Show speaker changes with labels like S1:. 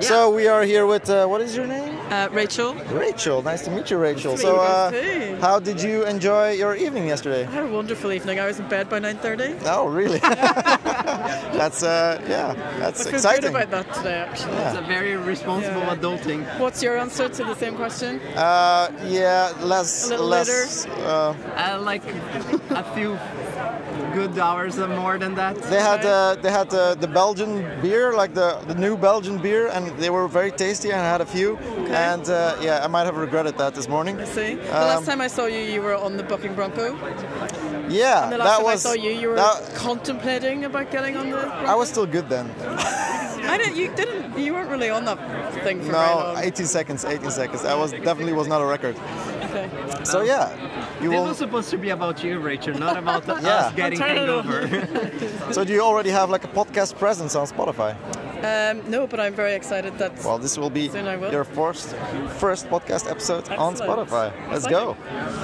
S1: So we are here with uh, what is your name?
S2: Uh, Rachel,
S1: Rachel. Nice to meet you, Rachel.
S2: Nice to
S1: so,
S2: meet you guys
S1: uh,
S2: too.
S1: how did you enjoy your evening yesterday?
S2: I had a wonderful evening. I was in bed by 9.30.
S1: Oh, really? that's uh, yeah, that's
S2: I feel
S1: exciting.
S2: good about that today, actually.
S3: It's a very responsible
S2: Yeah.
S3: adulting.
S2: What's your answer to the same question?
S1: Uh, yeah, less,
S2: A little
S1: less. Uh,
S3: I like a few good hours and more than that.
S1: they had uh, they had uh, the Belgian beer, like the, the new Belgian beer, and they were very tasty. And I had a few, and uh, yeah, I might have regretted that this morning.
S2: I see. The
S1: Um,
S2: last time I saw you, you were on the Bucking Bronco.
S1: Yeah,
S2: The
S1: that
S2: last time
S1: was.
S2: I saw you, you were
S1: that-
S2: contemplating about getting on the Bronco.
S1: I was still good then.
S2: I didn't, you didn't, you weren't really on that thing for very
S1: No,
S2: long.
S1: 18 seconds, 18 seconds. That was definitely was not a record.
S2: Okay.
S1: So yeah, you
S3: This
S1: will.
S3: was supposed to be about you, Rachel, not about
S1: Yeah.
S3: us getting hangover.
S1: So do you already have like a podcast presence on Spotify?
S2: Um, no, but I'm very excited that
S1: Well, this will be
S2: Soon I will.
S1: your first first podcast episode on
S2: Excellent.
S1: Spotify. Let's
S2: Exciting.
S1: go.